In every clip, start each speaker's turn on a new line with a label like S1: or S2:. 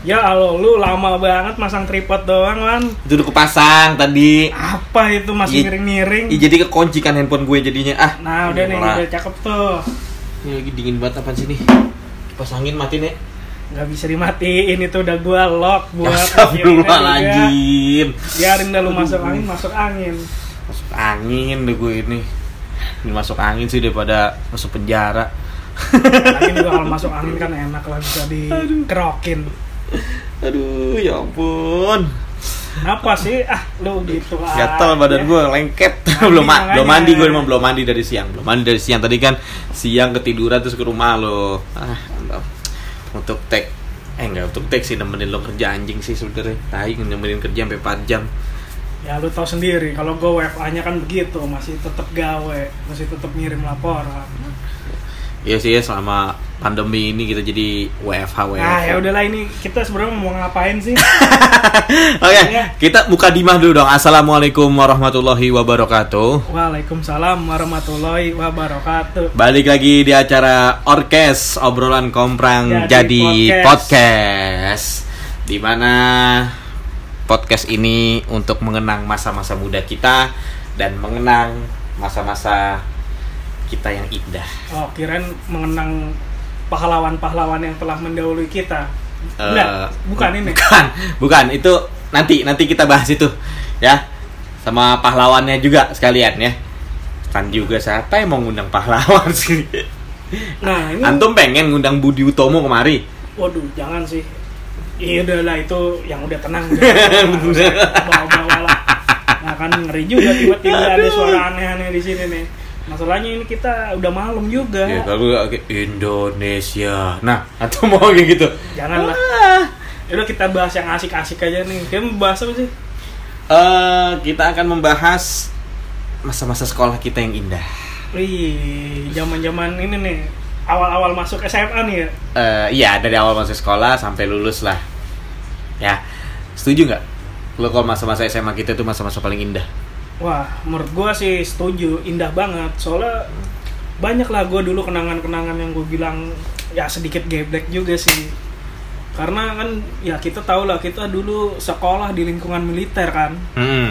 S1: Ya Allah, lu lama banget masang tripod doang, Wan.
S2: Itu udah kepasang tadi.
S1: Apa itu
S2: Iya.
S1: masih
S2: Ih,
S1: miring-miring?
S2: jadi kekunci kan handphone gue jadinya. Ah.
S1: Nah, udah nih,
S2: Norak.
S1: udah cakep tuh.
S2: Ini lagi dingin banget apaan sini? Kipas angin matiin ya.
S1: Nggak bisa dimatiin, itu udah gua lock buat akhirnya juga.
S2: Astagfirullahaladzim.
S1: Biarin dah lu masuk angin, masuk angin.
S2: Masuk angin deh gue ini. Ini masuk angin sih daripada masuk penjara.
S1: Angin juga kalau masuk angin kan enak lah bisa dikerokin.
S2: Aduh, ya ampun.
S1: Kenapa sih? Ah, lu gitu lah.
S2: Gatal badan gue lengket. belum ma-
S1: makanya.
S2: belum mandi gue emang belum mandi dari siang. Belum mandi dari siang tadi kan siang ketiduran terus ke rumah lo. Ah, mantap. untuk tag eh enggak untuk tag sih nemenin lo kerja anjing sih sebenernya tai nemenin kerja sampai 4 jam
S1: Ya lu tahu sendiri, kalau gua WFA-nya kan begitu, masih tetap gawe, masih tetap ngirim laporan.
S2: Iya sih ya selama pandemi ini kita jadi WFH WFH.
S1: Nah, ya udahlah ini kita sebenarnya mau ngapain sih?
S2: Oke,
S1: Iya.
S2: kita buka dimah dulu dong. Assalamualaikum warahmatullahi wabarakatuh.
S1: Waalaikumsalam warahmatullahi wabarakatuh.
S2: Balik lagi di acara Orkes Obrolan
S1: Jadi
S2: Komprang jadi,
S1: podcast.
S2: podcast. Di mana podcast ini untuk mengenang masa-masa muda kita dan mengenang masa-masa kita yang indah.
S1: Oh, kirain mengenang pahlawan-pahlawan yang telah mendahului kita.
S2: Eh,
S1: Enggak, bukan ini.
S2: Bukan, bukan itu nanti nanti kita bahas itu ya sama pahlawannya juga sekalian ya. Kan juga siapa yang mau ngundang pahlawan sih?
S1: Nah, ini
S2: Antum pengen ngundang Budi Utomo kemari?
S1: waduh, jangan sih. Iya udahlah itu yang udah tenang. udah. Bawa-bawa lah. Nah, kan ngeri juga tiba-tiba ada
S2: Aduh.
S1: suara aneh-aneh di sini nih. Masalahnya ini kita udah malam juga.
S2: Ya kalau nggak, oke, Indonesia. Nah, antum mau kayak gitu?
S1: Janganlah.
S2: Ah.
S1: Udah kita bahas yang asik-asik aja nih. Kita mau bahas apa sih?
S2: Eh, kita akan membahas masa-masa sekolah kita yang indah.
S1: Wih, zaman-zaman ini nih. Awal-awal masuk SMA nih ya.
S2: Eh, iya dari awal masuk sekolah sampai lulus lah. Ya, setuju nggak? Lo kalau masa-masa SMA kita tuh masa-masa paling indah.
S1: Wah, menurut gua sih setuju, indah banget. Soalnya banyak lah gua dulu kenangan-kenangan yang gue bilang ya sedikit geblek juga sih. Karena kan ya kita tahu lah kita dulu sekolah di lingkungan militer kan.
S2: Hmm,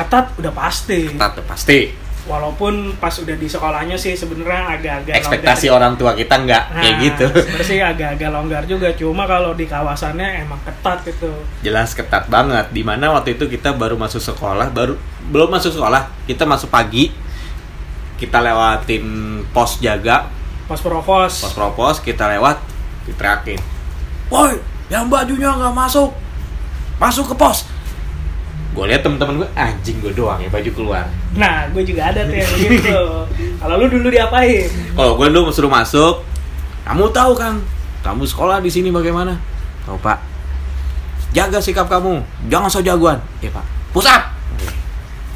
S1: Ketat udah pasti.
S2: tetap tuh, pasti.
S1: Walaupun pas udah di sekolahnya sih sebenarnya agak-agak
S2: Ekspektasi
S1: longgar.
S2: orang tua kita nggak
S1: Nah,
S2: kayak gitu.
S1: sebenarnya sih agak-agak longgar juga. Cuma kalau di kawasannya emang ketat gitu.
S2: Jelas ketat banget. Dimana waktu itu kita baru masuk sekolah, baru belum masuk sekolah, kita masuk pagi. Kita lewatin pos jaga,
S1: Pos provos.
S2: pos propos, kita lewat, diterakin. Woi, yang bajunya nggak masuk, masuk ke pos. Gue lihat temen-temen gue, anjing gue doang ya baju keluar.
S1: Nah, gue juga ada tuh yang begitu. Kalau lu dulu diapain?
S2: Kalau gue dulu suruh masuk, kamu tahu kan, kamu sekolah di sini bagaimana? Tahu pak. Jaga sikap kamu, jangan so jagoan. Iya pak. Push up.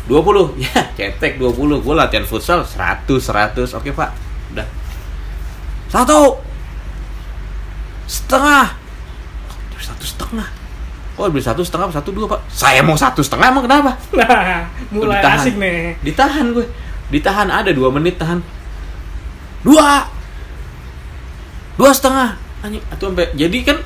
S2: 20 ya cetek 20 gue latihan futsal 100 100 oke pak udah satu setengah Udah satu setengah oh beli satu setengah satu dua pak saya mau satu setengah emang kenapa
S1: Nah, mulai
S2: Ditahan.
S1: asik nih.
S2: ditahan gue ditahan ada dua menit tahan dua dua setengah anjing atau sampai jadi kan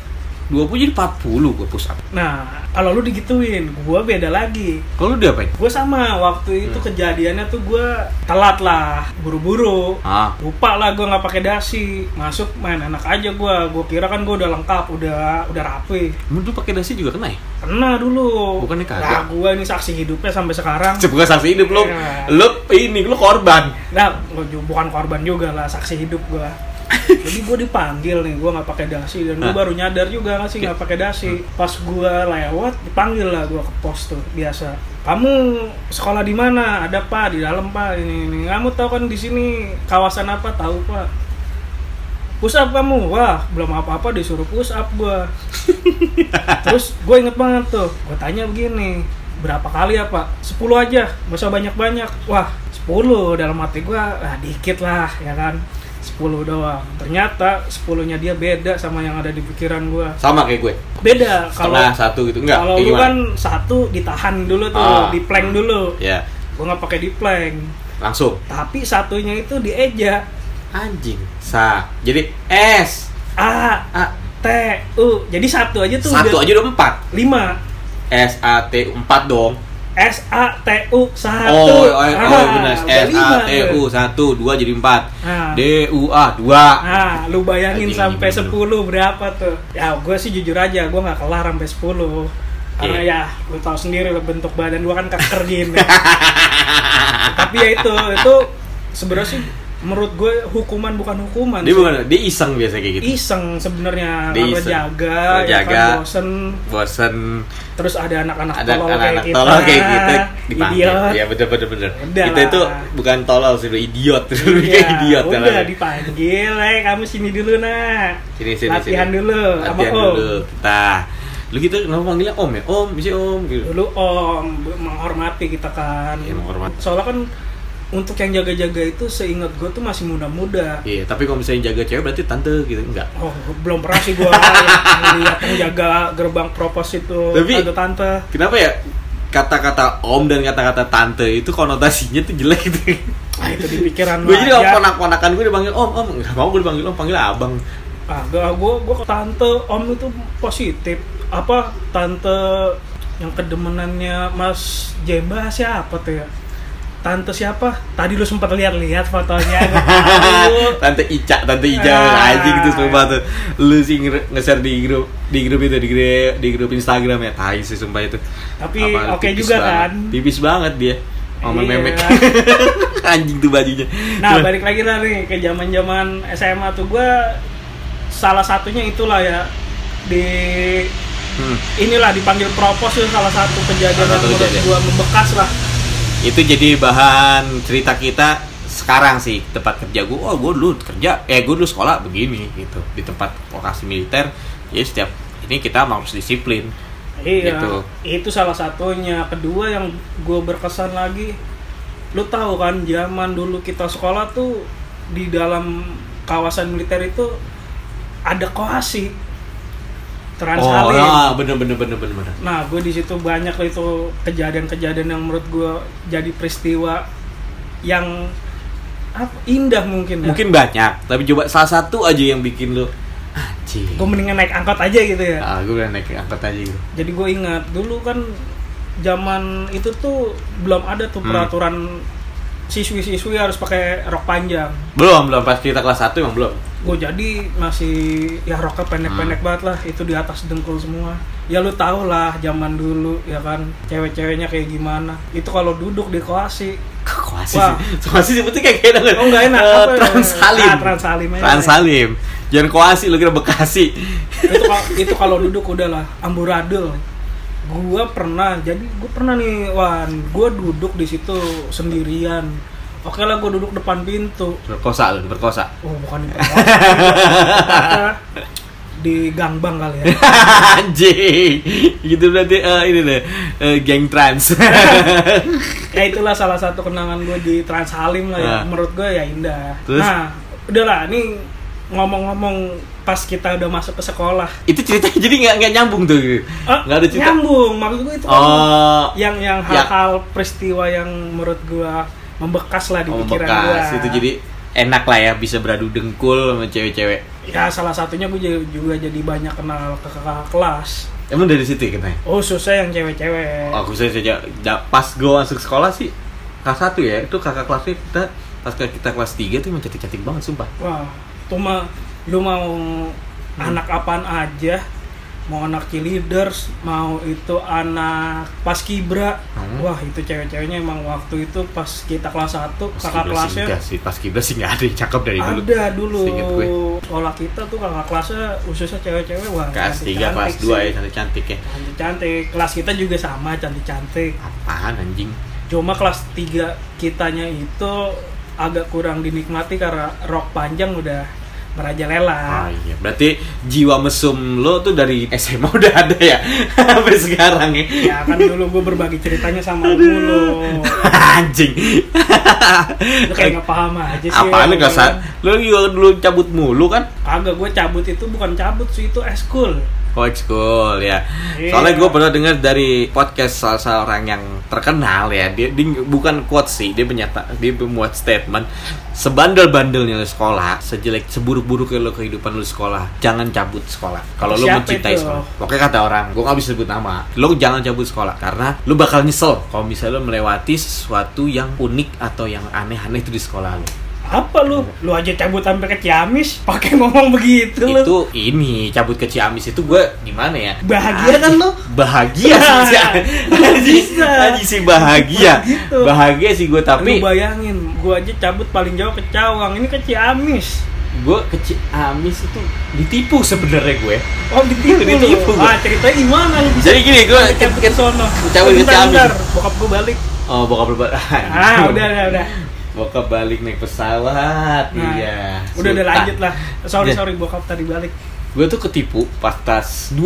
S2: dua puluh jadi empat puluh gue push up
S1: Nah, kalau lu digituin, gua beda lagi.
S2: kalau lu diapain
S1: Gue sama waktu
S2: Hmm.
S1: itu kejadiannya tuh gua telat lah, buru-buru.
S2: ah
S1: Lupa lah gua nggak pakai dasi. Masuk main enak aja gua. Gua kira kan gua udah lengkap, udah udah rapi.
S2: emang lu pakai dasi juga kena ya
S1: Kena dulu.
S2: Bukannya kagak.
S1: Nah, gua ini saksi hidupnya sampai sekarang.
S2: Bukan saksi hidup lu,
S1: Iya.
S2: lu ini lu korban.
S1: Nah, gua ju- bukan korban juga lah, saksi hidup gua. Jadi gue dipanggil nih, gue nggak pakai dasi dan gue
S2: Hah?
S1: baru nyadar juga nggak sih nggak pakai dasi. Pas gue lewat dipanggil lah gue ke pos tuh biasa. Kamu sekolah di mana? Ada pak di dalam pak ini, ini. Kamu tahu kan di sini kawasan apa? Tahu pak. Push up kamu, wah belum apa-apa disuruh push up gue. Terus gue inget banget tuh, gue tanya begini, berapa kali ya pak? 10 aja, gak usah banyak-banyak. Wah, 10 dalam hati gue, ah dikit lah ya kan. 10 doang. Ternyata 10-nya dia beda sama yang ada di pikiran gue.
S2: Sama kayak gue.
S1: Beda kalau
S2: Setengah satu gitu enggak?
S1: kalau
S2: kayak
S1: lu
S2: gimana?
S1: kan satu ditahan dulu tuh,
S2: Ah.
S1: di plank dulu.
S2: ya,
S1: Gue nggak pakai di plank,
S2: langsung
S1: tapi satunya itu dieja.
S2: anjing. Sa. Jadi S
S1: Ah,
S2: A
S1: TU. Jadi satu aja tuh
S2: Satu
S1: udah
S2: aja udah empat.
S1: 5.
S2: S A T empat dong.
S1: S A T U satu.
S2: Oh, oh, oh,
S1: Ah,
S2: benar.
S1: udah
S2: S A
S1: lima
S2: T
S1: tuh.
S2: U satu dua jadi empat.
S1: Ah.
S2: D U A dua.
S1: Ah, lu bayangin
S2: Anjing,
S1: sampai
S2: anjing,
S1: 10 berapa tuh? Ya, gue sih jujur aja, gue nggak kelar sampai 10. Karena
S2: Iya.
S1: ya, lu tahu sendiri lah bentuk badan gua kan keker gini. Tapi ya itu, itu sebenarnya sih menurut gue hukuman bukan hukuman.
S2: Dia
S1: sih.
S2: bukan, dia iseng biasa kayak gitu.
S1: Iseng sebenarnya,
S2: Dia
S1: kalau
S2: iseng.
S1: jaga,
S2: Kalau
S1: ya
S2: jaga.
S1: kan bosen.
S2: Bosen,
S1: Terus ada anak-anak
S2: ada
S1: tolol
S2: anak-anak
S1: kayak
S2: tolol
S1: kita. Ah,
S2: kayak gitu dipanggil.
S1: Idiot.
S2: Iya bener bener bener.
S1: Udah
S2: Kita
S1: lah.
S2: itu bukan tolol sih, idiot.
S1: Iya,
S2: Kayak idiot.
S1: udah
S2: namanya.
S1: dipanggil, eh kamu sini dulu nah.
S2: sini sini
S1: Latihan
S2: sini.
S1: dulu sama
S2: latihan
S1: Om.
S2: dulu kita lu gitu kenapa panggilnya om ya om bisa om gitu
S1: Dulu om menghormati kita kan.
S2: Iya, menghormati.
S1: Soalnya kan untuk yang jaga-jaga itu seingat gue tuh masih muda-muda.
S2: iya tapi kalau misalnya jaga cewek berarti tante gitu enggak
S1: Oh, belum pernah sih gue lihat yang jaga gerbang propos itu
S2: Tapi-
S1: tante-tante.
S2: kenapa ya kata-kata om dan kata-kata tante itu konotasinya tuh jelek gitu
S1: Ah itu di pikiran
S2: gue
S1: lu
S2: jadi kalau
S1: aja.
S2: ponak-ponakan gue dipanggil om om nggak mau gue dipanggil om panggil abang
S1: Ah, gue gue ke tante om itu positif. Apa tante yang kedemenannya Mas Jemba siapa tuh ya? Tante siapa? Tadi lu sempat lihat-lihat fotonya. gua tahu.
S2: tante Ica, tante Ica,
S1: Ah.
S2: anjing gitu sumpah tuh. Lu sih nge- nge-share di grup, di grup itu, di grup, di grup Instagram ya, tai sih sumpah itu.
S1: Tapi
S2: Apaan,
S1: oke
S2: tipis
S1: juga
S2: banget.
S1: kan?
S2: Tipis banget dia. Omen
S1: Iya.
S2: memek. anjing tuh bajunya.
S1: Nah,
S2: Cuman,
S1: balik lagi lah nih ke zaman-zaman SMA tuh gua salah satunya itulah ya di
S2: hmm,
S1: inilah dipanggil propos itu salah satu kejadian
S2: Salah
S1: yang
S2: satu
S1: menurut
S2: kejadian.
S1: gua membekas lah.
S2: itu jadi bahan cerita kita sekarang sih tempat kerja gue oh gue dulu kerja eh gue dulu sekolah begini gitu di tempat lokasi militer ya setiap ini kita emang harus disiplin
S1: Iya.
S2: Gitu.
S1: Itu salah satunya. Kedua yang gua berkesan lagi lu tahu kan zaman dulu kita sekolah tuh di dalam kawasan militer itu ada koasi Trans
S2: oh
S1: Halim.
S2: nah, bener bener bener bener bener
S1: Nah, gue di situ banyak itu kejadian-kejadian yang menurut gue jadi peristiwa yang apa, indah mungkin. Ya.
S2: mungkin banyak tapi coba salah satu aja yang bikin lu anjing
S1: gue mendingan naik angkot aja gitu ya.
S2: ah gue udah naik angkot aja gitu
S1: Jadi gue ingat dulu kan zaman itu tuh belum ada tuh
S2: Hmm.
S1: peraturan siswi-siswi harus pakai rok panjang.
S2: belum belum pas kita kelas 1 emang belum
S1: Gue jadi masih ya roknya pendek-pendek banget lah, itu di atas dengkul semua. Ya lu tau lah zaman dulu ya kan cewek-ceweknya kayak gimana. Itu kalau duduk di koasi
S2: Koasi
S1: Wah.
S2: sih. Koasi sebutnya kayak enak.
S1: Oh, nggak enak.
S2: Eh,
S1: Apa ya?
S2: Transalim.
S1: Ah, Transalim aja.
S2: Transalim. Jangan koasi lu kira Bekasi.
S1: itu kalau itu kalau duduk udahlah amburadul gua pernah jadi gua pernah nih wan gua duduk di situ sendirian oke lah gua duduk depan pintu
S2: Berkosa lu, berkosa.
S1: oh bukan di Tepatnya di gangbang kali ya
S2: Anjing. Gitu berarti eh, ini deh eh, geng trans.
S1: ya itulah salah satu kenangan gua di Trans Halim lah ya
S2: Nah.
S1: menurut gua ya indah
S2: Terus?
S1: nah udahlah nih ngomong-ngomong pas kita udah masuk ke sekolah
S2: itu ceritanya jadi nggak nggak nyambung tuh.
S1: Eh,
S2: Nggak ada cerita.
S1: nyambung maksud gua itu kan
S2: Oh,
S1: yang yang
S2: Ya.
S1: hal-hal peristiwa yang menurut gua membekas lah di
S2: oh
S1: pikiran
S2: bekas
S1: gua.
S2: itu jadi enak lah ya bisa beradu dengkul sama cewek-cewek.
S1: ya salah satunya gua ju- juga jadi banyak kenal ke kakak kelas.
S2: Emang dari situ ya kenanya?
S1: Oh susah yang cewek-cewek.
S2: aku saya saja da- pas gue masuk sekolah sih kelas 1 ya itu kakak kelasnya kita pas ke- kita kelas 3 tuh emang cantik-cantik banget sumpah
S1: Wah, tuh mah lu mau
S2: Hmm.
S1: anak apaan aja? Mau anak cheerleaders, mau itu anak pas kibra.
S2: Hmm.
S1: Wah, itu cewek-ceweknya emang waktu itu pas kita kelas 1, kakak
S2: Pas kibra sih
S1: kelasnya
S2: enggak sih pas kibra sih nggak ada yang cakep dari dulu
S1: ada dulu.
S2: Seinget gue.
S1: Sekolah kita tuh kakak kelasnya khususnya cewek-cewek wah.
S2: kelas 3
S1: cantik-cantik
S2: kelas 2 ya
S1: sih.
S2: cantik-cantik ya
S1: Cantik-cantik. Kelas kita juga sama cantik-cantik.
S2: apaan anjing
S1: Cuma kelas 3 kitanya itu agak kurang dinikmati karena rok panjang udah
S2: ah
S1: merajalela.
S2: iya berarti jiwa mesum lo tuh dari SMA udah ada ya sampai sekarang ya
S1: Ya kan dulu gue berbagi ceritanya sama lu mulu.
S2: anjing
S1: Lu kayak nggak paham aja sih.
S2: apaan
S1: lu
S2: lu kelas
S1: kan?
S2: sa- lu juga dulu cabut mulu kan
S1: Kagak, gue cabut itu bukan cabut sih, itu eskul.
S2: Coach Cool ya.
S1: Iya.
S2: Soalnya gue pernah dengar dari podcast salah seorang yang terkenal ya. Dia, dia- bukan quote sih, dia menyata dia membuat statement sebandel-bandelnya lu sekolah, sejelek seburuk-buruknya lu kehidupan lu sekolah, jangan cabut sekolah. Kalau lu
S1: Siapa
S2: mencintai
S1: itu?
S2: sekolah. Pokoknya kata orang, gue nggak bisa sebut nama. Lu jangan cabut sekolah karena lu bakal nyesel kalau misalnya lu melewati sesuatu yang unik atau yang aneh-aneh itu di sekolah lu.
S1: Apa lu? Lu aja cabut sampai ke Ciamis pakai ngomong begitu lu.
S2: itu ini cabut ke Ciamis itu gue gimana ya
S1: Bahagia kan lu?
S2: bahagia sih sih
S1: Bisa.
S2: Haji sih bahagia
S1: Gitu.
S2: bahagia sih gue tapi
S1: Lu bayangin, gue aja cabut paling jauh ke Cawang, ini ke Ciamis.
S2: gue ke Ciamis itu ditipu sebenarnya gue
S1: Oh ditipu, lu.
S2: Ditipu
S1: Ah
S2: gua.
S1: ceritanya gimana? lu bisa
S2: jadi gini gue
S1: cabut ke sono.
S2: cabut ke
S1: Bentar,
S2: Ciamis.
S1: bentar. Bokap gue balik.
S2: oh bokap berbalik
S1: Ah udah udah udah.
S2: bokap balik naik pesawat
S1: Nah,
S2: iya
S1: Udah udah lanjut lah. Sorry
S2: Udah.
S1: sorry bokap tadi balik.
S2: gue tuh ketipu pas kelas 2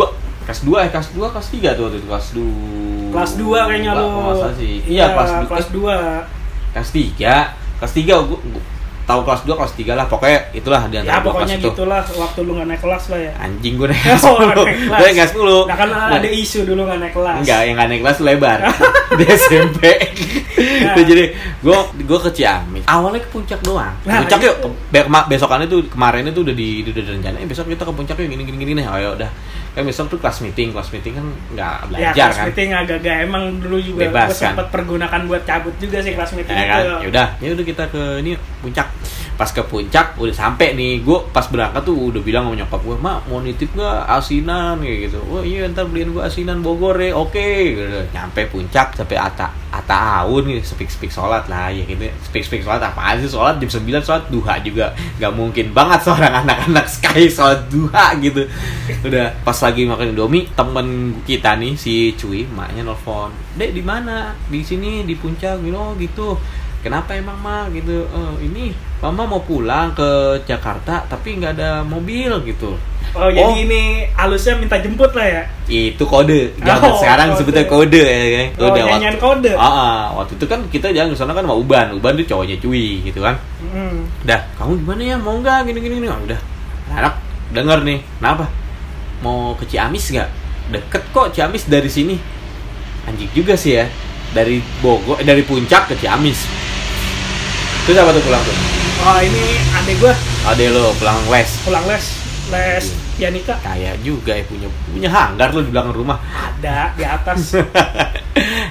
S2: kelas 2 eh kelas 2 kelas 3 tuh waktu itu kelas 2
S1: Kelas 2 kayaknya lu.
S2: sih iya kelas
S1: kelas
S2: 2
S1: kelas 2.
S2: kelas 3 kelas 3 gue tahu kelas 2 kelas 3 lah pokoknya itulah di
S1: Ya
S2: antara dua kelas
S1: pokoknya
S2: itu
S1: gitulah waktu lu nggak naik kelas lah ya.
S2: anjing gue naik
S1: Oh,
S2: kelas
S1: naik
S2: 10
S1: kelas.
S2: gue naik 10
S1: Nah kan ada isu dulu nggak naik kelas. Ya,
S2: Oh, enggak yang gak naik kelas lebar di SMP
S1: Nah.
S2: Itu Nah, jadi gue gue ke Ciamis awalnya ke puncak doang
S1: Nah,
S2: puncak
S1: itu.
S2: yuk ke- be- kema- besokannya tuh kemarin itu udah di udah rencana eh, besok kita ke puncak yuk gini gini gini nih ayo udah kan besok tuh kelas meeting kelas meeting kan nggak
S1: Ya
S2: belajar
S1: kelas
S2: kan
S1: meeting agak-agak emang dulu juga
S2: Bebas,
S1: gue
S2: kan?
S1: sempat pergunakan buat cabut juga sih kelas meeting
S2: ya kan
S1: itu.
S2: ya udah ya udah kita ke ini puncak pas ke puncak udah sampai nih gue pas berangkat tuh udah bilang sama nyokap gue mak mau nitip nggak asinan kayak gitu oh iya ntar beliin gue asinan bogor ya oke gitu. nyampe puncak sampai ata ata aun gitu speak speak sholat lah ya gitu speak speak sholat apaan sih sholat jam 9 sholat duha juga nggak mungkin banget seorang anak-anak sky sholat duha gitu udah pas lagi makan indomie temen kita nih si cuy maknya nelfon dek di mana di sini di puncak gitu "Oh, gitu kenapa emang mah gitu "Eh, ini mama mau pulang ke Jakarta tapi nggak ada mobil gitu
S1: Oh, jadi ini alusnya minta jemput lah ya.
S2: itu kode zaman
S1: Oh,
S2: sekarang
S1: kode.
S2: sebetulnya kode ya kan?
S1: Oh, nyanyian kode.
S2: Ah, ah. waktu itu kan kita jalan ke sana kan sama Uban Uban tuh cowoknya cuy gitu kan
S1: Hmm.
S2: dah kamu gimana ya mau nggak gini gini gini Ah, udah anak denger nih kenapa mau ke Ciamis nggak deket kok Ciamis dari sini anjing juga sih ya dari Bogor eh, dari puncak ke Ciamis terus apa tuh pulang tuh
S1: Oh ini adek gue
S2: Ade lo pulang les
S1: pulang les les pianika
S2: kayak juga ya punya punya hanggar lo di belakang rumah
S1: ada di atas.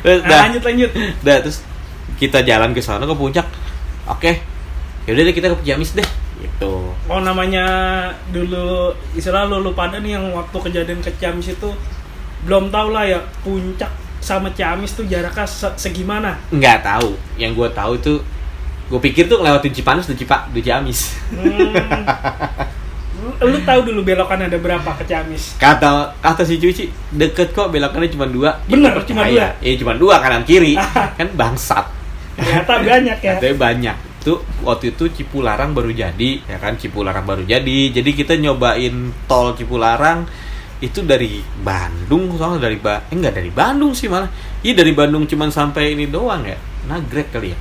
S2: terus
S1: Nah,
S2: dah,
S1: lanjut lanjut.
S2: dah, terus kita jalan ke sana ke puncak oke yaudah deh kita ke Ciamis deh gitu
S1: Oh namanya dulu istilah lu, lu pada nih yang waktu kejadian ke Ciamis itu belum tau lah ya puncak sama Ciamis tuh jaraknya se- segimana.
S2: nggak tahu yang gue tahu itu gue pikir tuh lewatin Cipanas di Cipa di Ciamis
S1: Hmm. lu tahu dulu belokan ada berapa ke Ciamis?
S2: kata kata si cuci deket kok belokannya cuma dua
S1: Bener,
S2: Ya,
S1: cuma
S2: percaya. iya cuma dua kanan kiri kan bangsat
S1: Ternyata banyak ya.
S2: Katanya banyak. Itu waktu itu Cipularang baru jadi, ya kan Cipularang baru jadi. Jadi kita nyobain tol Cipularang itu dari Bandung soalnya dari ba eh, enggak dari Bandung sih malah. Iya dari Bandung cuman sampai ini doang ya. Nagrek kali ya.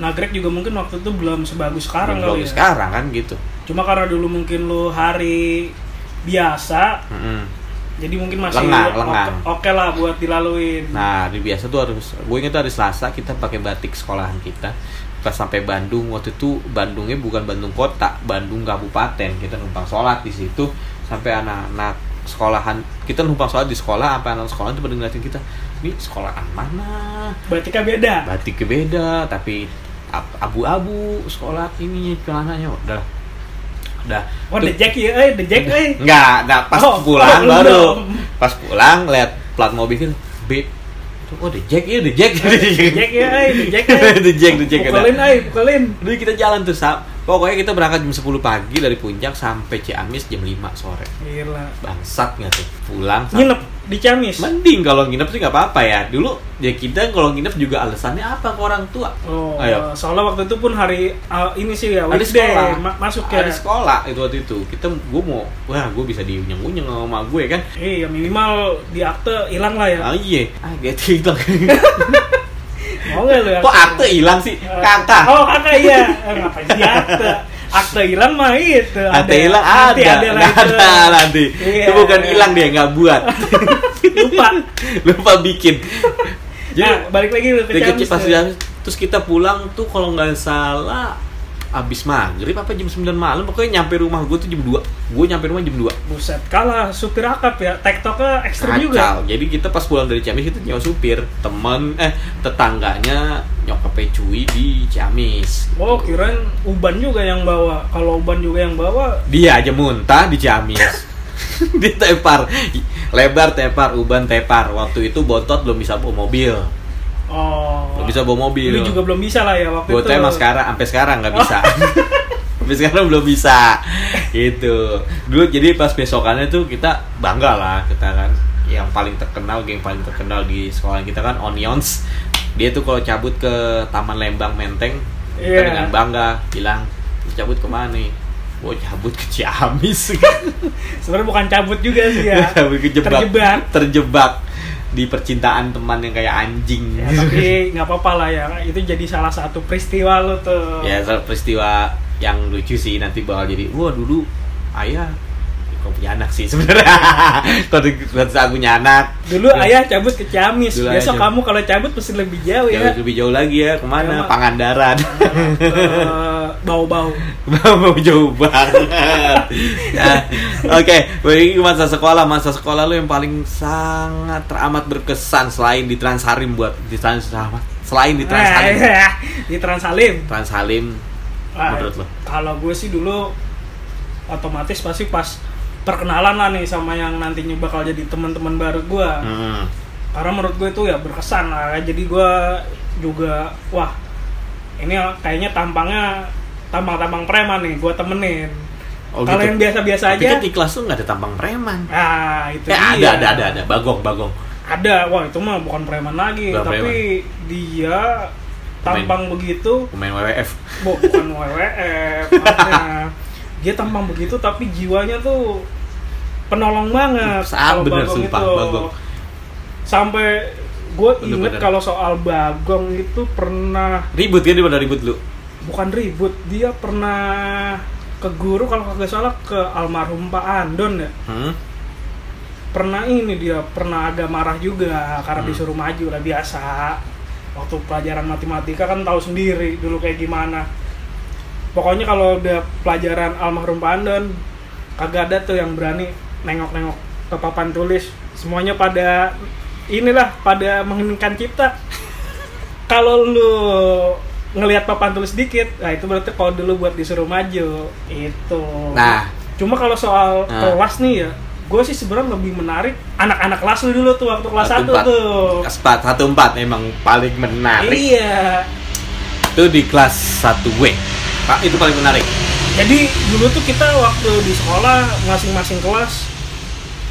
S1: Nagrek Nah, juga mungkin waktu itu belum sebagus sekarang
S2: Belum
S1: kali ya.
S2: sekarang kan gitu.
S1: Cuma karena dulu mungkin lu hari biasa,
S2: Mm-mm.
S1: jadi mungkin masih
S2: Lengang,
S1: oke-
S2: lengang.
S1: oke lah buat dilaluin.
S2: Nah, di biasa tuh harus gue ingat tuh hari Selasa kita pakai batik sekolahan kita. Pas sampai Bandung waktu itu Bandungnya bukan Bandung kota, Bandung kabupaten. Kita numpang sholat di situ sampai anak-anak sekolahan kita numpang sholat di sekolah sampai anak sekolah itu pada ngeliatin kita ini sekolahan mana
S1: Batiknya kan beda.
S2: batiknya beda tapi ab- abu-abu sekolah ini celananya udah lah. udah
S1: Oh, the
S2: Tuh.
S1: jack ya, eh, the jack, eh.
S2: Enggak, enggak pas
S1: Oh,
S2: pulang
S1: belum.
S2: baru. Pas pulang lihat plat mobil itu beep. Oh, the jack ya, the jack.
S1: The jack ya, eh, the jack, eh.
S2: The jack, the jack.
S1: Pukulin, eh, pukulin.
S2: Jadi kita jalan tuh, Sam. Pokoknya kita berangkat jam 10 pagi dari puncak sampai Ciamis jam 5 sore.
S1: Gila.
S2: Bangsat nggak tuh? Pulang sam-
S1: Nginep di Ciamis.
S2: Mending kalau nginep sih nggak apa-apa ya. Dulu ya kita kalau nginep juga alasannya apa ke orang tua?
S1: Oh,
S2: Ayo.
S1: soalnya waktu itu pun hari uh, ini sih ya,
S2: Hari
S1: weekday
S2: sekolah.
S1: ma- masuk ya.
S2: Ada sekolah itu waktu itu. Kita gue mau wah, gue bisa diunyeng-unyeng sama emak gue kan.
S1: Iya, minimal di akte hilang lah ya.
S2: Ah iya, ah gak hilang.
S1: Mau nggak lu ya?
S2: Kok akte hilang sih?
S1: Eh,
S2: Kakak.
S1: Oh, kakak iya. Eh, ngapain di akte? akte hilang mah itu
S2: Akte hilang ada,
S1: iya. nanti ada,
S2: Nggak
S1: lagi
S2: ada nanti.
S1: Iya.
S2: Itu bukan hilang dia nggak buat,
S1: lupa
S2: lupa bikin.
S1: nah balik lagi ke
S2: Tiket
S1: Ciamis
S2: pas
S1: tuh. ya.
S2: jam terus kita pulang tuh kalau nggak salah abis maghrib apa jam 9 malam pokoknya nyampe rumah gue tuh jam 2 gue nyampe rumah jam 2
S1: buset kalah supir akap ya tektoknya ekstrim juga
S2: kacau jadi kita pas pulang dari Ciamis itu nyawa supir temen eh tetangganya nyokapnya cuy di Ciamis
S1: Oh, kirain Uban juga yang bawa. Kalau Uban juga yang bawa,
S2: dia aja muntah di Ciamis ditepar lebar tepar uban tepar waktu itu bontot belum bisa bawa mobil
S1: oh.
S2: belum bisa bawa mobil
S1: Ini juga belum bisa lah ya waktu
S2: gue
S1: itu. Oh.
S2: tuh emang sekarang sampai sekarang nggak bisa sampai sekarang belum bisa gitu dulu jadi pas besokannya tuh kita bangga lah kita kan yang paling terkenal geng paling terkenal di sekolah kita kan Onions dia tuh kalau cabut ke Taman Lembang Menteng kita
S1: Iya.
S2: dengan bangga bilang "Lu cabut kemana nih Gue cabut ke Ciamis
S1: Sebenarnya bukan cabut juga sih ya.
S2: Cabut ke jebak
S1: Terjebak.
S2: Terjebak di percintaan teman yang kayak anjing
S1: Ya, tapi nggak apa-apa lah ya. Itu jadi salah satu peristiwa lo tuh.
S2: ya soal peristiwa yang lucu sih nanti bakal jadi wah dulu ayah kok punya anak sih sebenarnya kalau kalau saya punya anak
S1: Dulu ayah cabut ke Ciamis.
S2: Dulu ayah
S1: Besok
S2: cabut.
S1: kamu kalau cabut mesti lebih jauh
S2: jauh
S1: ya.
S2: lebih jauh lagi ya
S1: Ya,
S2: kemana
S1: Mak.
S2: Pangandaran
S1: Eh, Bau-bau.
S2: mau jauh banget Nah, oke balik lagi ke masa sekolah masa sekolah lu yang paling sangat teramat berkesan selain di Transharim buat di Trans selain di Transharim
S1: Eh, di Transalim.
S2: Transharim
S1: Ah,
S2: menurut lo?
S1: Kalau gue sih dulu otomatis pasti pas perkenalan lah nih sama yang nantinya bakal jadi teman-teman baru gue.
S2: hmm.
S1: Karena menurut gue itu ya berkesan lah. Jadi gue juga wah ini kayaknya tampangnya tampang-tampang preman nih. Gue temenin.
S2: Oh,
S1: Kalau
S2: gitu.
S1: yang biasa-biasa
S2: tapi
S1: aja,
S2: kan di kelas lu nggak ada tampang preman
S1: ah itu
S2: Eh, ada,
S1: dia.
S2: ada, ada, ada. Bagong, bagong.
S1: Ada. Wah itu mah bukan preman lagi,
S2: Bukan
S1: tapi dia tampang begitu
S2: Pemain WWF.
S1: Bu- bukan WWF maksudnya. dia tampang begitu tapi jiwanya tuh penolong banget
S2: Saat
S1: Kalau
S2: bener,
S1: Bagong
S2: sumpah,
S1: itu.
S2: Bagong.
S1: sampai gue inget
S2: Bener-bener.
S1: kalau soal bagong itu pernah
S2: Ribut kan dia pada ribut lu.
S1: bukan ribut dia pernah ke guru kalau kagak salah ke almarhum Pak Andon ya
S2: Hmm?
S1: pernah ini dia pernah agak marah juga karena
S2: Hmm.
S1: disuruh maju lah biasa waktu pelajaran matematika kan tahu sendiri dulu kayak gimana pokoknya kalau udah pelajaran almarhum Pandan kagak ada tuh yang berani nengok-nengok ke papan tulis semuanya pada inilah pada menginginkan cipta kalau lu ngelihat papan tulis dikit nah itu berarti kalau dulu buat disuruh maju itu
S2: Nah.
S1: cuma kalau soal
S2: Nah.
S1: kelas nih ya gue sih sebenarnya lebih menarik anak-anak kelas lu dulu tuh waktu kelas 1
S2: empat.
S1: tuh
S2: Kelas 4, satu empat memang paling menarik.
S1: iya
S2: Itu di kelas 1 W. Pak, itu paling menarik.
S1: jadi dulu tuh kita waktu di sekolah masing-masing kelas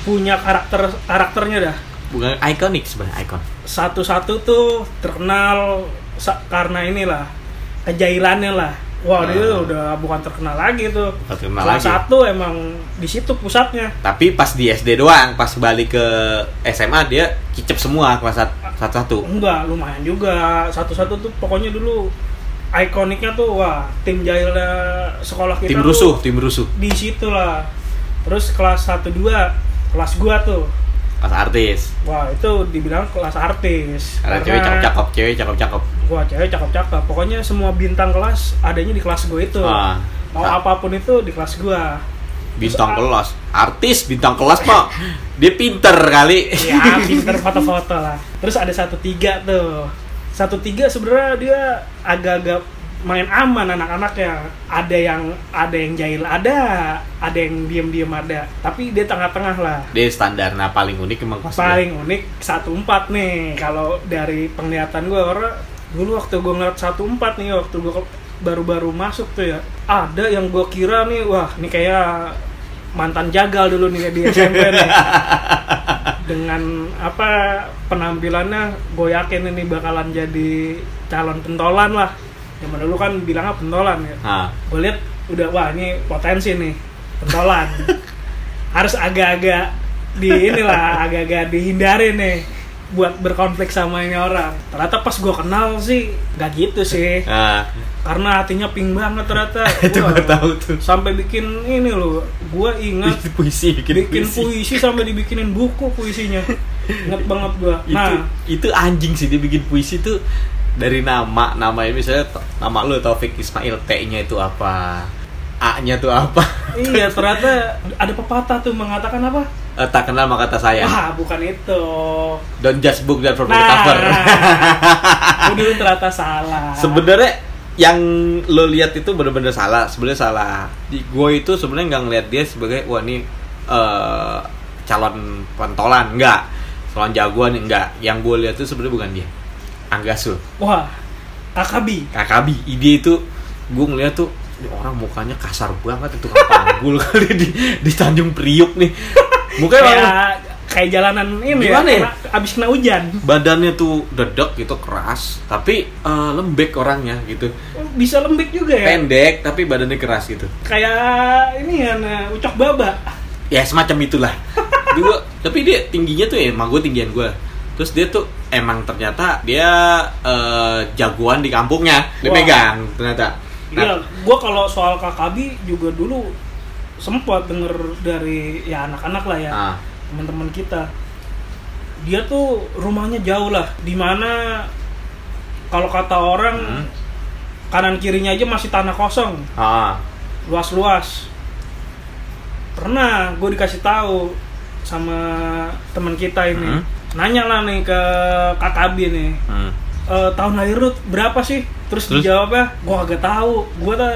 S1: punya karakter karakternya dah
S2: Bukan ikonik sebenarnya, ikon.
S1: satu-satu tuh terkenal sa- karena inilah kejailannya lah wah dia
S2: Hmm.
S1: udah bukan terkenal lagi tuh
S2: Bukan terkenal
S1: kelas
S2: lagi.
S1: satu emang di situ pusatnya
S2: Tapi pas di SD doang, pas balik ke SMA dia kicep semua kelas sat- satu-satu.
S1: Enggak, lumayan juga. Satu-satu tuh pokoknya dulu ikoniknya tuh wah, tim jahilnya sekolah kita
S2: Tim
S1: tuh
S2: rusuh, tim rusuh.
S1: di situ lah. Terus kelas 1 2, kelas gua tuh.
S2: Kelas artis.
S1: Wah, itu dibilang kelas artis.
S2: Ada
S1: Karena-
S2: cewek cakep-cakep, cewek cakep-cakep.
S1: Wah, cewek cakep-cakep. Pokoknya semua bintang kelas adanya di kelas gua itu.
S2: Ah.
S1: Mau
S2: Ah.
S1: apapun itu di kelas gua.
S2: Bintang
S1: Terus,
S2: kelas, artis bintang kelas, Pak. Dia pinter kali.
S1: ya pinter foto-foto lah terus ada satu tiga tuh satu tiga sebenarnya dia agak-agak main aman anak-anaknya ada yang ada yang jahil ada ada yang diem-diem ada tapi dia tengah-tengah lah
S2: Dia standar nah paling unik emang kelas dua.
S1: paling unik 14 nih kalau dari penglihatan gue karena dulu waktu gue ngeliat 14 nih waktu gue baru-baru masuk tuh ya ada yang gue kira nih wah ini kayak mantan jagal dulu nih di SMP nih dengan apa penampilannya gue yakin ini bakalan jadi calon pentolan lah zaman dulu kan bilangnya pentolan ya
S2: Ah.
S1: gue lihat udah wah ini potensi nih pentolan harus agak-agak di inilah agak-agak dihindari nih buat berkonflik sama ini orang ternyata pas gue kenal sih nggak gitu sih
S2: Nah,
S1: karena hatinya pink banget ternyata
S2: itu
S1: Wah,
S2: gue tahu tuh.
S1: sampai bikin ini loh gue ingat
S2: Itu puisi bikin,
S1: bikin
S2: puisi.
S1: puisi sampai dibikinin buku puisinya inget banget gua
S2: Itu
S1: nah
S2: itu anjing sih dia bikin puisi tuh dari nama namanya misalnya to- nama lu Taufik Ismail T-nya itu apa? A-nya tuh apa?
S1: iya ternyata ada pepatah tuh mengatakan apa
S2: Eh, tak kenal maka tak sayang.
S1: wah bukan itu
S2: Don't judge book dan from the
S1: nah
S2: cover.
S1: itu dulu ternyata salah
S2: sebenarnya yang lo lihat itu bener-bener salah sebenarnya salah di gue itu sebenarnya nggak ngelihat dia sebagai wah ini eh, calon pentolan enggak calon jagoan enggak yang gue lihat itu sebenarnya bukan dia Angga Sul
S1: wah kakabi
S2: Kakabi ide itu gue ngeliat tuh "Ini orang mukanya kasar banget itu panggul kali di di Tanjung Priuk nih mukanya
S1: kayak
S2: emang
S1: kayak jalanan ini
S2: Gimana ya?
S1: ya, kena- abis kena hujan
S2: badannya tuh dedek gitu keras tapi eh, lembek orangnya gitu
S1: bisa lembek juga ya
S2: pendek tapi badannya keras gitu
S1: kayak ini ya nah, ucok baba
S2: ya semacam itulah Jadi gua- tapi dia tingginya tuh ya emang gue tinggian gue terus dia tuh emang ternyata dia eh, jagoan di kampungnya dia
S1: Wah.
S2: megang ternyata
S1: Iya,
S2: nah,
S1: gue kalau soal kakabi juga dulu sempat denger dari ya anak-anak lah ya
S2: ah,
S1: teman-teman kita dia tuh rumahnya jauh lah dimana kalau kata orang
S2: Hmm.
S1: kanan kirinya aja masih tanah kosong
S2: ah,
S1: luas-luas pernah gue dikasih tahu sama teman kita ini
S2: Hmm.
S1: nanya lah nih ke kakabi nih
S2: hmm.
S1: e, tahun lahir lu berapa sih terus,
S2: Terus?
S1: dijawabnya gue agak tahu gue tuh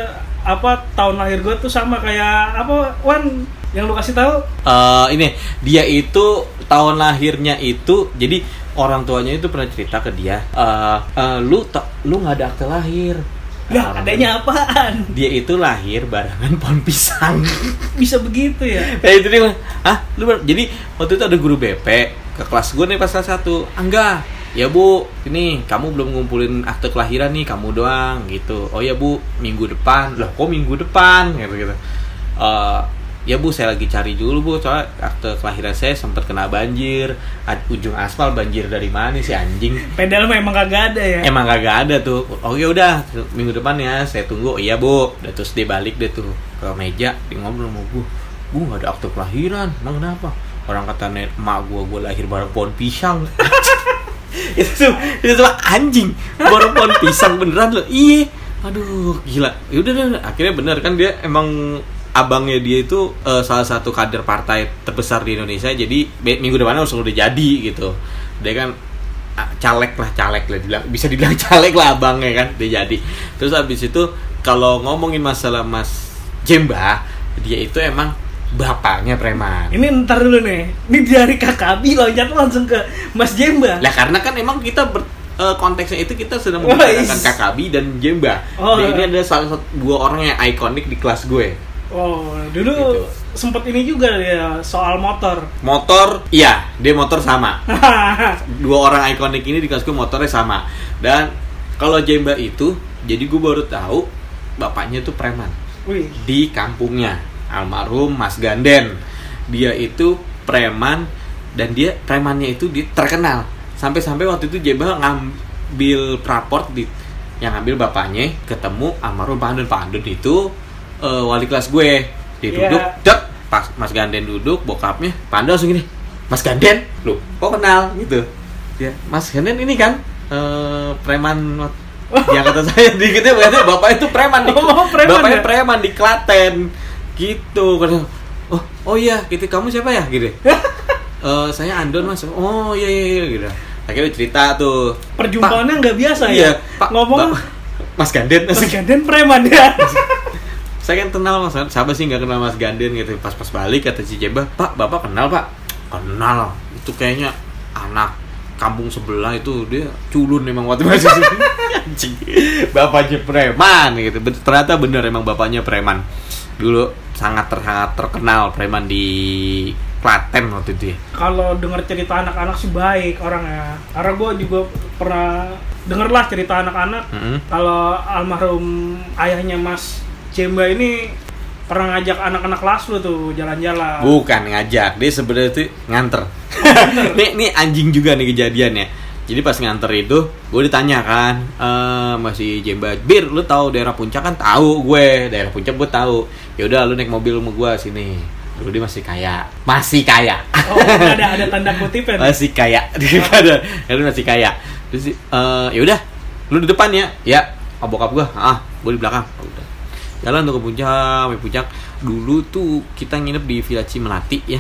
S1: apa tahun lahir gue tuh sama kayak apa Wan yang lu kasih tahu
S2: Eh, ini dia itu tahun lahirnya itu jadi orang tuanya itu pernah cerita ke dia eh, eh, lu ta- lu nggak ada akte lahir
S1: Lah,
S2: Orang-
S1: adanya apaan?
S2: dia itu lahir barengan pohon pisang
S1: Bisa begitu ya?
S2: Eh itu dia bilang, "Hah, lu ber- jadi waktu itu ada guru BP ke kelas gue nih pas kelas 1. Angga, ya Bu, ini kamu belum ngumpulin akte kelahiran nih, kamu doang gitu. Oh ya Bu, minggu depan. Loh, kok minggu depan gitu gitu. Eh, ya Bu, saya lagi cari dulu Bu, soalnya akte kelahiran saya sempat kena banjir. A- Ujung aspal banjir dari mana sih anjing?
S1: Pedal memang kagak ada ya?
S2: Emang kagak ada tuh. Oh ya udah, minggu depan ya saya tunggu. "Oh, Iya bu. Udah terus dia balik deh tuh ke meja, dia ngobrol sama gue. Gue gak ada akte kelahiran. Emang kenapa? Orang kata nenek emak gue, gue lahir bareng pohon pisang. itu tuh, itu tuh anjing. Bareng pohon pisang beneran loh. Iya. Aduh, gila. Ya udah deh, akhirnya bener kan dia emang abangnya dia itu eh, salah satu kader partai terbesar di Indonesia. Jadi be- minggu depan langsung udah jadi gitu. Dia kan ah, caleg lah caleg lah dibilang bisa dibilang caleg lah abangnya kan dia jadi terus habis itu kalau ngomongin masalah mas Jemba dia itu emang bapaknya preman
S1: Ini ntar dulu nih. Ini dari Kakabi loncat langsung ke Mas Jemba.
S2: lah karena kan emang kita ber- eh, konteksnya itu kita sedang
S1: Wais.
S2: membicarakan Kakabi dan Jemba
S1: Oh.
S2: Dia ini ada salah satu dua orang yang ikonik di kelas gue
S1: Oh, dulu
S2: Gitu.
S1: sempet ini juga ya soal motor.
S2: motor iya dia motor sama dua orang ikonik ini di kelas gue motornya sama dan kalau Jemba itu jadi gue baru tahu bapaknya tuh preman
S1: Wih,
S2: di kampungnya almarhum Mas Ganden dia itu preman dan dia premannya itu di, terkenal sampai-sampai waktu itu Jeba ngambil raport di yang ngambil bapaknya ketemu almarhum Pak Andun Pak Andun itu eh, wali kelas gue dia
S1: Iya.
S2: duduk dek pas Mas Ganden duduk bokapnya Pak Andun langsung gini Mas Ganden lu kok kenal gitu ya Mas Ganden ini kan eh, preman yang kata saya dikitnya berarti bapak itu preman di,
S1: Oh, preman
S2: bapaknya
S1: ya?
S2: preman di Klaten gitu Kata, oh oh iya gitu kamu siapa ya gitu Eh saya Andon mas oh iya iya, iya gitu akhirnya cerita tuh
S1: perjumpaannya nggak biasa ya?
S2: Pak, iya Pak
S1: Ngomong
S2: Bapak- Mas Ganden
S1: Mas
S2: Mas-
S1: Ganden preman ya?
S2: saya kan kenal mas siapa sih nggak kenal Mas Ganden gitu pas pas balik kata si Jeba Pak bapak kenal Pak kenal itu kayaknya anak kampung sebelah itu dia culun emang waktu masih anjing bapaknya preman gitu Ben- ternyata bener emang bapaknya preman dulu sangat ter- sangat terkenal preman di Klaten waktu itu ya.
S1: kalau dengar cerita anak-anak sih baik orangnya. Karena gue juga pernah denger lah cerita anak-anak
S2: Mm-mm.
S1: kalau almarhum ayahnya Mas Jemba ini pernah ngajak anak-anak kelas lu tuh jalan-jalan.
S2: bukan ngajak dia sebenarnya itu nganter nih, nih anjing juga nih kejadiannya. Jadi pas nganter itu, gue ditanya kan, eh masih jembat bir, lu tahu daerah puncak kan tahu gue, daerah puncak gue tahu. Ya udah lu naik mobil sama gue sini. Dulu dia masih kaya, masih kaya,
S1: Oh, ada ada tanda kutipnya nih.
S2: masih Oh, kaya, daripada lu masih kaya. Terus eh ya udah, lu di depan ya, ya, ah, bokap gue, ah, gue di belakang. Oh, udah. Jalan tuh ke puncak, sampai puncak. Dulu tuh kita nginep di Villa Cimelati ya,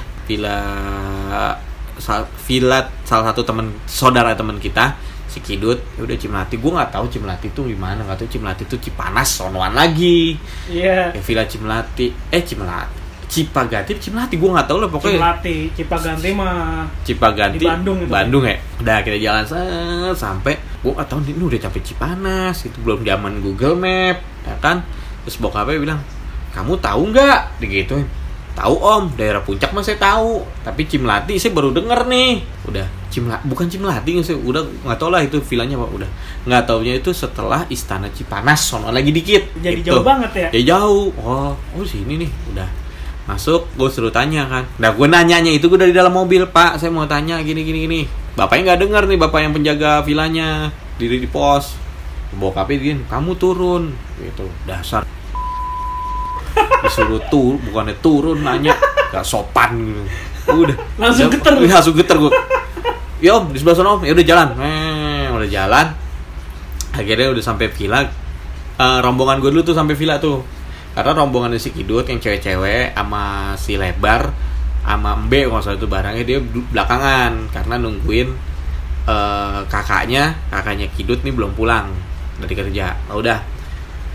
S2: Villa Sa- Villa salah satu teman saudara teman kita si Kidut ya udah Cimlati gue nggak tahu Cimlati tuh gimana nggak tahu Cimlati tuh Cipanas sonoan lagi
S1: Iya.
S2: ya Villa Cimlati eh Cimlati Cipagati Cimlati gue nggak tahu lah pokoknya
S1: Cimelati, Cipaganti mah
S2: Cipaganti
S1: Di Bandung itu.
S2: Bandung ya udah kita jalan set, sampai gue nggak tahu ini udah sampai Cipanas itu belum zaman Google Map ya kan terus bokapnya bilang kamu tahu nggak digituin tahu om daerah puncak mah saya tahu tapi Cimlati saya baru denger nih udah Cimla bukan Cimlati nggak sih udah nggak tahu lah itu vilanya apa udah nggak taunya itu setelah istana Cipanas sono lagi dikit
S1: jadi
S2: Gitu.
S1: jauh banget ya.
S2: Ya jauh. Oh, oh sini nih. Udah masuk, gue suruh tanya kan. Nah, gue nanyanya itu gue dari dalam mobil, Pak. Saya mau tanya gini gini gini. Bapaknya nggak dengar nih, bapak yang penjaga vilanya diri di pos. Bokapnya gini, kamu turun gitu. Dasar disuruh tur bukannya turun nanya gak sopan gitu udah
S1: Langsung
S2: Ya,
S1: geter.
S2: iya, langsung geter gue ya om di sebelah sana om ya udah jalan eh, udah jalan akhirnya udah sampai villa Eh, rombongan gue dulu tuh sampai villa tuh karena rombongan si Kidut yang cewek-cewek sama si Lebar sama Mbe kalau nggak salah itu barangnya dia du- belakangan karena nungguin eh, kakaknya kakaknya Kidut nih belum pulang dari kerja Nah, udah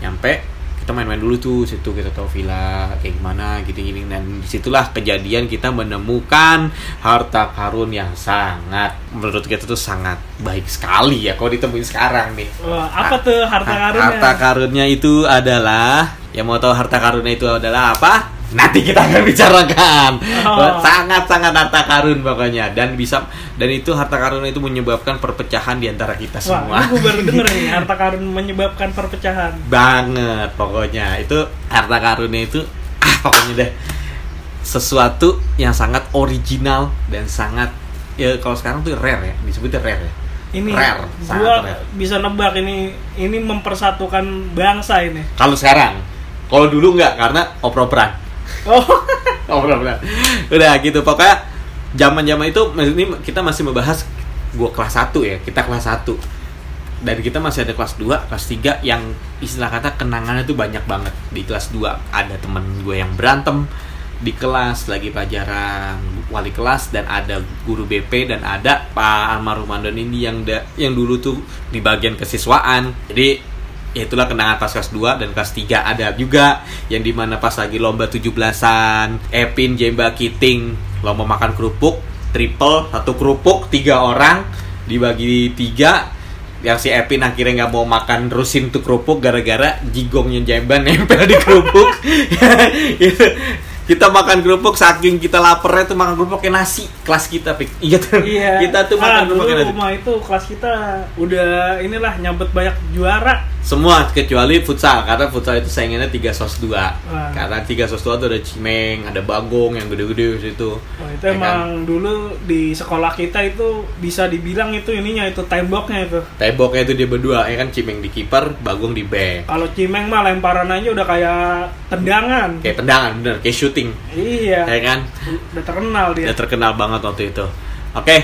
S2: nyampe kita main-main dulu tuh situ kita tahu villa kayak gimana gitu-gini dan disitulah kejadian kita menemukan harta karun yang sangat menurut kita tuh sangat baik sekali ya kalau ditemuin sekarang nih
S1: Wah, apa tuh harta ya?
S2: Ha-
S1: karunnya?
S2: Harta karunnya itu adalah yang mau tahu harta karunnya itu adalah apa? Nanti kita akan bicarakan.
S1: Oh.
S2: Sangat-sangat harta karun pokoknya dan bisa dan itu harta karun itu menyebabkan perpecahan di antara kita
S1: Wah,
S2: semua.
S1: ini gue baru denger nih, harta karun menyebabkan perpecahan.
S2: Banget pokoknya. Itu harta karunnya itu ah pokoknya deh sesuatu yang sangat original dan sangat ya kalau sekarang tuh rare ya, disebutnya rare ya.
S1: Ini
S2: Rare, sangat
S1: gua
S2: rare.
S1: bisa nebak ini ini mempersatukan bangsa ini.
S2: Kalau sekarang, kalau dulu nggak karena oper-operan.
S1: Oh,
S2: Oh, benar, benar. Udah gitu pokoknya zaman-zaman itu ini kita masih membahas gua kelas 1 ya, kita kelas 1. Dan kita masih ada kelas 2, kelas 3 yang istilah kata kenangannya tuh banyak banget. Di kelas 2 ada temen gue yang berantem di kelas lagi pelajaran wali kelas dan ada guru BP dan ada Pak almarhum Andon ini yang da- yang dulu tuh di bagian kesiswaan. Jadi ya itulah kenangan pas kelas 2 dan kelas 3 ada juga yang dimana pas lagi lomba 17-an Epin, Jemba, Kiting lomba makan kerupuk triple satu kerupuk tiga orang dibagi tiga yang si Epin akhirnya nggak mau makan rusin tuh kerupuk gara-gara jigongnya Jemba nempel di kerupuk Itu. kita makan kerupuk saking kita laparnya tuh makan kerupuk kayak nasi kelas kita pik iya tuh.
S1: iya.
S2: kita tuh
S1: Ah,
S2: makan kerupuk kayak
S1: dulu
S2: nasi
S1: rumah itu kelas kita udah inilah nyabet banyak juara.
S2: semua kecuali futsal karena futsal itu saingannya tiga sos dua
S1: Wah.
S2: karena tiga sos dua tuh ada cimeng ada bagong yang gede-gede di situ
S1: Oh, itu
S2: Ya kan?
S1: emang dulu di sekolah kita itu bisa dibilang itu ininya itu temboknya itu.
S2: temboknya itu dia berdua ya kan cimeng di kiper bagong di back
S1: Kalau Cimeng mah lemparan aja udah kayak tendangan.
S2: kayak tendangan bener kayak shooting
S1: Iya.
S2: ya kan
S1: Udah terkenal dia.
S2: udah terkenal banget waktu itu oke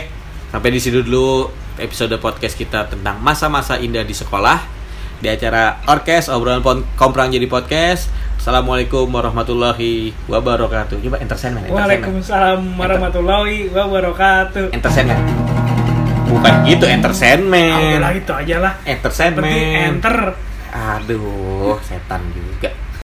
S2: sampai di situ dulu episode podcast kita tentang masa-masa indah di sekolah di acara orkes obrolan pon- komprang jadi podcast assalamualaikum warahmatullahi wabarakatuh coba entertainment entertainment
S1: Waalaikumsalam warahmatullahi wabarakatuh.
S2: entertainment bukan gitu
S1: Ah, udah lah
S2: entertainment
S1: itu aja lah. Penting
S2: entertainment
S1: enter.
S2: aduh setan juga